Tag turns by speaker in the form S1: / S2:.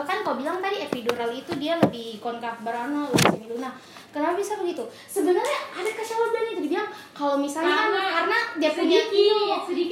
S1: kan kau bilang tadi epidural itu dia lebih konkaf berano lebih semilunar kenapa bisa begitu sebenarnya ada kesalahan itu dibilang kalau misalnya kan-
S2: Karena
S1: karena dia punya
S2: sedikit,
S1: iyo,
S2: sedikit Iya,